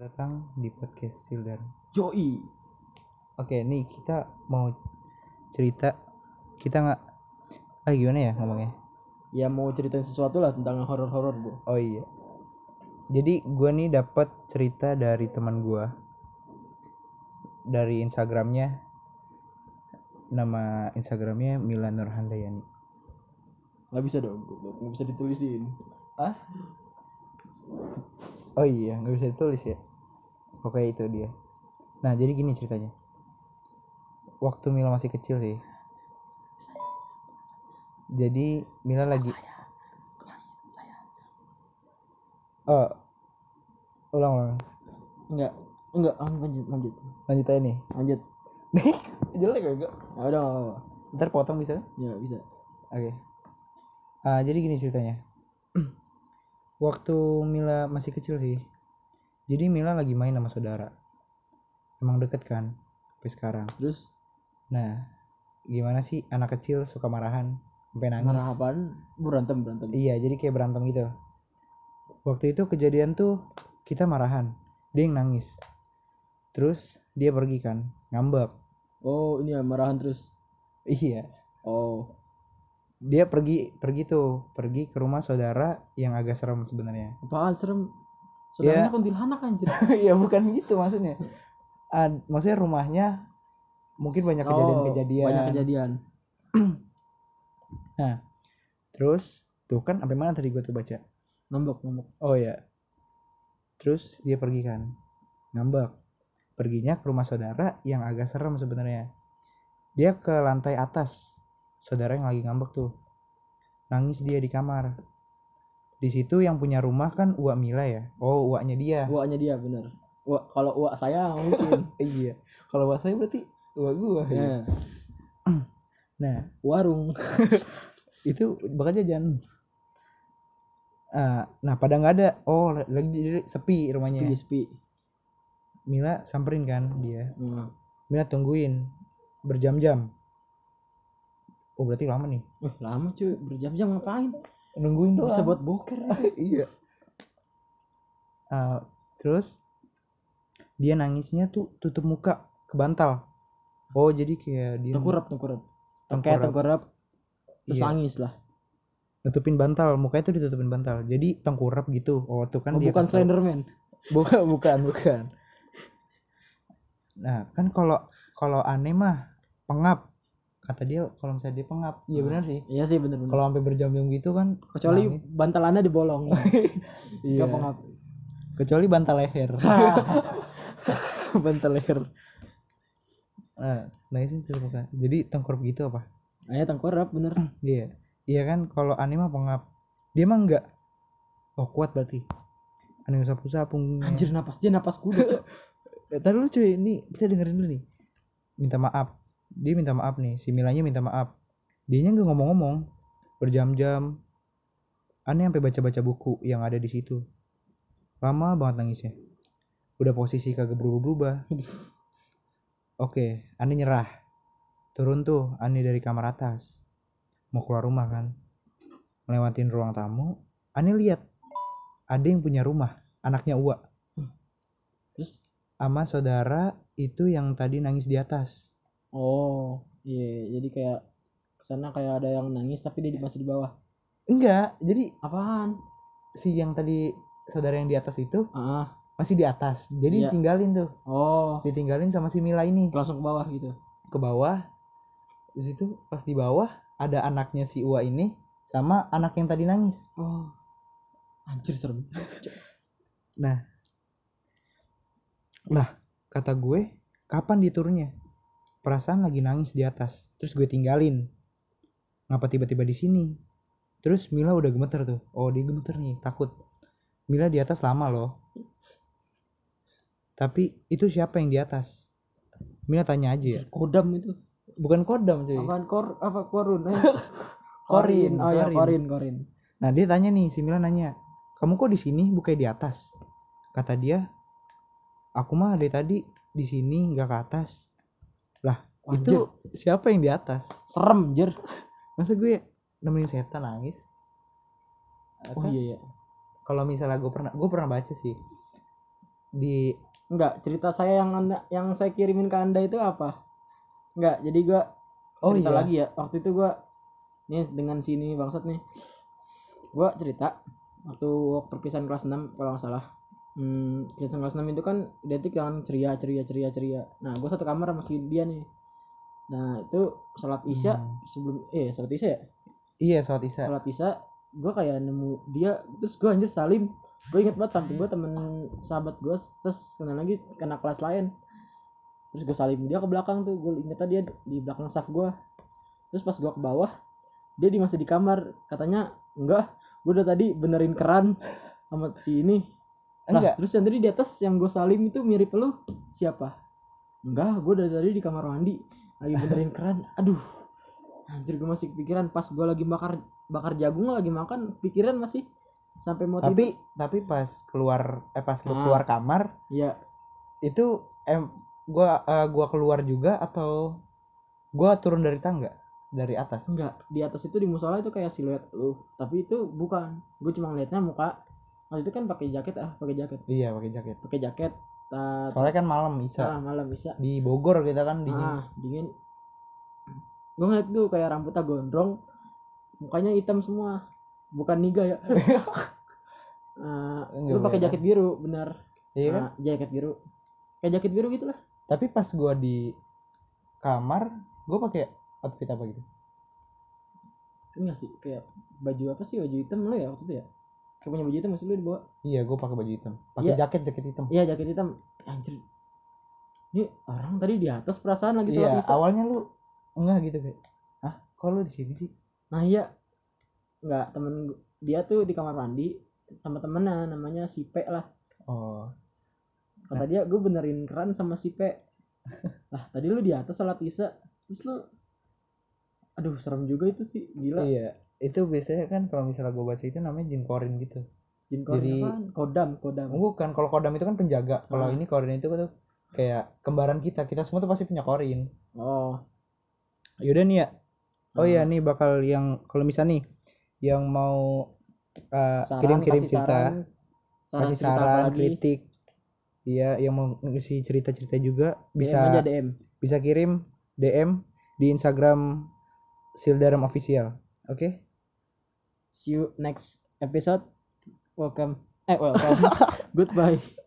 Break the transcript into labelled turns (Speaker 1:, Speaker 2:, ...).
Speaker 1: datang di podcast Sildan.
Speaker 2: Joy.
Speaker 1: Oke, nih kita mau cerita kita nggak ah gimana ya ngomongnya?
Speaker 2: Ya mau ceritain sesuatu lah tentang horor-horor bro.
Speaker 1: Oh iya. Jadi gua nih dapat cerita dari teman gua dari Instagramnya nama Instagramnya Mila Nurhandayani.
Speaker 2: Gak bisa dong, goblok. gak bisa ditulisin.
Speaker 1: Ah? Oh iya, nggak bisa ditulis ya. Pokoknya itu dia. Nah, jadi gini ceritanya. Waktu Mila masih kecil sih. Jadi Mila lagi. Oh, ulang ulang.
Speaker 2: Enggak, enggak, ah, lanjut, lanjut,
Speaker 1: Lanjut aja nih.
Speaker 2: lanjut.
Speaker 1: Jelek enggak?
Speaker 2: Ya udah, nggak apa-apa.
Speaker 1: Ntar potong bisa?
Speaker 2: ya bisa.
Speaker 1: Oke. Ah, jadi gini ceritanya. Waktu Mila masih kecil sih. Jadi Mila lagi main sama saudara. Emang deket kan sampai sekarang.
Speaker 2: Terus
Speaker 1: Nah, gimana sih anak kecil suka marahan sampai nangis?
Speaker 2: marah apaan? Berantem, berantem.
Speaker 1: Iya, jadi kayak berantem gitu. Waktu itu kejadian tuh kita marahan, dia yang nangis. Terus dia pergi kan, ngambek.
Speaker 2: Oh ini ya marahan terus.
Speaker 1: Iya.
Speaker 2: Oh,
Speaker 1: Dia pergi pergi tuh, pergi ke rumah saudara yang agak serem sebenarnya.
Speaker 2: apaan serem?
Speaker 1: Ya.
Speaker 2: Saudaranya kuntilanak kan, anjir.
Speaker 1: ya bukan gitu maksudnya Ad- maksudnya rumahnya mungkin banyak
Speaker 2: Oh,
Speaker 1: kejadian-kejadian
Speaker 2: Banyak kejadian.
Speaker 1: terus tuh kan sampai mana tadi gue tuh baca
Speaker 2: Nombok, nombok.
Speaker 1: oh ya terus dia pergi kan ngambek perginya ke rumah saudara yang agak serem sebenarnya dia ke lantai atas saudara yang lagi ngambek tuh nangis dia di kamar di situ yang punya rumah kan uak Mila ya oh uaknya dia
Speaker 2: Uaknya dia bener. Uak, kalau uak saya nggak mungkin.
Speaker 1: iya kalau bahasa berarti uak gua
Speaker 2: ya.
Speaker 1: Iya. nah
Speaker 2: Warung.
Speaker 1: itu bakal jajan Eh, nah pada nggak ada oh la- lagi jadi sepi rumahnya
Speaker 2: Sepi, sepi.
Speaker 1: Mila samperin kan dia
Speaker 2: Nah,
Speaker 1: Mila tungguin berjam-jam oh berarti lama nih
Speaker 2: Eh, lama cuy berjam-jam ngapain?
Speaker 1: nungguin
Speaker 2: Bisa
Speaker 1: doang
Speaker 2: buat boker gitu. itu.
Speaker 1: iya Eh, terus dia nangisnya tuh tutup muka ke bantal oh jadi kayak dia
Speaker 2: Tengkurap, tengkurap. Kayak tengkurap terus
Speaker 1: Iya.
Speaker 2: nangis lah.
Speaker 1: nutupin bantal mukanya tuh ditutupin bantal jadi tengkurap gitu oh tuh kan
Speaker 2: Oh,
Speaker 1: dia
Speaker 2: bukan
Speaker 1: kasih tahu.
Speaker 2: Slenderman.
Speaker 1: bukan bukan bukan nah kan kalau kalau aneh mah pengap kata dia kalau misalnya dia pengap iya benar sih
Speaker 2: Iya sih bener-bener.
Speaker 1: kalau sampai berjam-jam gitu kan
Speaker 2: Kecuali
Speaker 1: nangis.
Speaker 2: bantal Anda dibolong.
Speaker 1: iya.
Speaker 2: Gak pengap.
Speaker 1: kecuali bantal leher bantal leher nah nangisnya tuh bukan jadi tengkurap gitu apa
Speaker 2: Nah, ya tengkurap bener.
Speaker 1: iya iya kan kalau aneh mah pengap dia mah enggak oh kuat berarti aneh usap-usap punggungnya
Speaker 2: Anjir napas dia napas kuda. Cok.
Speaker 1: Eh, Tadi lu cuy, ini kita dengerin dulu nih. Minta maaf. Dia minta maaf nih, si Milanya minta maaf. Dianya nggak ngomong-ngomong berjam-jam. Aneh sampai baca-baca buku yang ada di situ. Lama banget nangisnya. Udah posisi kagak berubah-berubah. Oke, Aneh nyerah. Turun tuh Aneh dari kamar atas. Mau keluar rumah kan. Melewatin ruang tamu, Aneh lihat ada yang punya rumah, anaknya Uwa
Speaker 2: Terus
Speaker 1: sama saudara itu yang tadi nangis di atas.
Speaker 2: oh, iya jadi kayak kesana kayak ada yang nangis tapi dia di- masih di bawah.
Speaker 1: Enggak, jadi
Speaker 2: Apaan?
Speaker 1: si yang tadi saudara yang di atas itu
Speaker 2: Ah,
Speaker 1: masih di atas. Jadi
Speaker 2: Iya.
Speaker 1: ditinggalin tuh,
Speaker 2: oh,
Speaker 1: ditinggalin sama si Mila ini
Speaker 2: langsung ke bawah gitu.
Speaker 1: ke bawah. Di situ pas di bawah ada anaknya si Ua ini sama anak yang tadi nangis.
Speaker 2: Oh. Anjir serem.
Speaker 1: Kata gue, kapan dia turunnya? Perasaan lagi nangis di atas. Terus gue tinggalin. Ngapa tiba-tiba di sini? Terus Mila udah gemeter tuh. Oh, dia gemeter nih, takut. Mila di atas lama loh. Tapi itu siapa yang di atas? Mila tanya aja ya.
Speaker 2: Anjir, kodam itu.
Speaker 1: Bukan kodam cuy.
Speaker 2: Apaan kor apa korun? Eh,
Speaker 1: Iya. Korin,
Speaker 2: korin. Oh ya,
Speaker 1: korin.
Speaker 2: korin, korin.
Speaker 1: Nah dia tanya nih, si Mila nanya, kamu kok di sini bukannya di atas? Kata dia, aku mah dari tadi di sini nggak ke atas. Lah
Speaker 2: Anjir.
Speaker 1: itu siapa yang di atas?
Speaker 2: Serem, anjir.
Speaker 1: Masa gue nemenin setan nangis?
Speaker 2: Oh
Speaker 1: Kan
Speaker 2: iya iya.
Speaker 1: Kalau misalnya gue pernah, gue pernah baca sih. di
Speaker 2: Enggak, cerita saya yang anda, yang saya kirimin ke Anda itu apa? Enggak, jadi gua
Speaker 1: Oh,
Speaker 2: cerita
Speaker 1: iya.
Speaker 2: lagi ya. Waktu itu gua nih dengan sini bangsat nih. Gua cerita waktu perpisahan kelas 6 kalau nggak salah. Hmm, perpisahan kelas 6 itu kan identik dengan ceria, ceria, ceria, ceria. Nah, gua satu kamar sama si dia nih. Nah, itu salat Isya sebelum eh salat Isya ya?
Speaker 1: hmm, iya sholat isya
Speaker 2: sholat isya gue kayak nemu dia terus gue anjir salim gue inget banget samping gue temen sahabat gue terus kenal lagi kena kelas lain terus gue salim dia ke belakang tuh gue inget dia di belakang staff gue terus pas gue ke bawah dia di masih di kamar katanya enggak gue udah tadi benerin keran sama si ini
Speaker 1: enggak
Speaker 2: lah, terus yang tadi di atas yang gue salim itu mirip lu siapa? Enggak, gue dari tadi di kamar mandi lagi benerin keran. Aduh, anjir gue masih kepikiran pas gue lagi bakar bakar jagung lagi makan pikiran masih sampai mau tidur.
Speaker 1: tapi tapi pas keluar eh pas lu
Speaker 2: Ah.
Speaker 1: keluar kamar
Speaker 2: Iya,
Speaker 1: itu em gua eh, gua keluar juga atau gua turun dari tangga dari atas
Speaker 2: enggak di atas itu di musola itu kayak siluet lu, tapi itu bukan. Gue cuma ngeliatnya muka. Waktu itu kan pakai jaket ah, pakai jaket,
Speaker 1: iya pakai jaket
Speaker 2: pakai jaket. Ta-
Speaker 1: soalnya kan malam Isa
Speaker 2: ah, malam bisa
Speaker 1: di Bogor kita kan dingin
Speaker 2: Ah, dingin. Gue ngeliat gue kayak rambutnya gondrong, mukanya hitam semua. Bukan niga ya. Ah,
Speaker 1: Enggak,
Speaker 2: lu pakai
Speaker 1: enggak.
Speaker 2: jaket biru, benar.
Speaker 1: iya kan
Speaker 2: Ah, jaket biru. Kayak jaket biru gitu lah.
Speaker 1: tapi pas gua di kamar gua pakai outfit apa gitu
Speaker 2: Enggak sih, kayak baju apa sih? Baju hitam lu ya waktu itu ya? Kayak punya baju hitam masih lu dibawa.
Speaker 1: iya gua pakai baju hitam pakai
Speaker 2: Iya.
Speaker 1: jaket jaket hitam
Speaker 2: Iya, jaket hitam. Anjir. Ini orang tadi di atas perasaan lagi
Speaker 1: iya
Speaker 2: sholat isya.
Speaker 1: awalnya lu enggak gitu kayak ah kok lu di sini sih
Speaker 2: Nah iya Enggak temen gu- Dia tuh di kamar mandi Sama temennya namanya si P lah
Speaker 1: oh
Speaker 2: kata dia gue benerin keran sama si P lah tadi lu di atas salat isya terus lu aduh serem juga itu sih gila
Speaker 1: iya itu biasanya kan kalau misalnya gua baca itu namanya jin korin gitu
Speaker 2: jin korin
Speaker 1: jadi- Oh,
Speaker 2: apaan? kodam kodam
Speaker 1: bukan kalau kodam itu kan penjaga kalau
Speaker 2: Ah.
Speaker 1: ini korin itu tuh kayak kembaran kita kita semua tuh pasti punya korin
Speaker 2: oh
Speaker 1: yaudah nih ya oh
Speaker 2: Hmm.
Speaker 1: iya nih bakal yang kalau misalnya nih yang mau uh,
Speaker 2: saran,
Speaker 1: kirim-kirim
Speaker 2: kasih
Speaker 1: cerita
Speaker 2: saran, saran
Speaker 1: kasih
Speaker 2: cerita apa
Speaker 1: saran
Speaker 2: lagi?
Speaker 1: kritik iya yang mau ngisi cerita-cerita juga
Speaker 2: Iya,
Speaker 1: bisa
Speaker 2: DM aja DM
Speaker 1: bisa kirim DM di Instagram Sildaram official oke
Speaker 2: see you next episode welcome eh welcome goodbye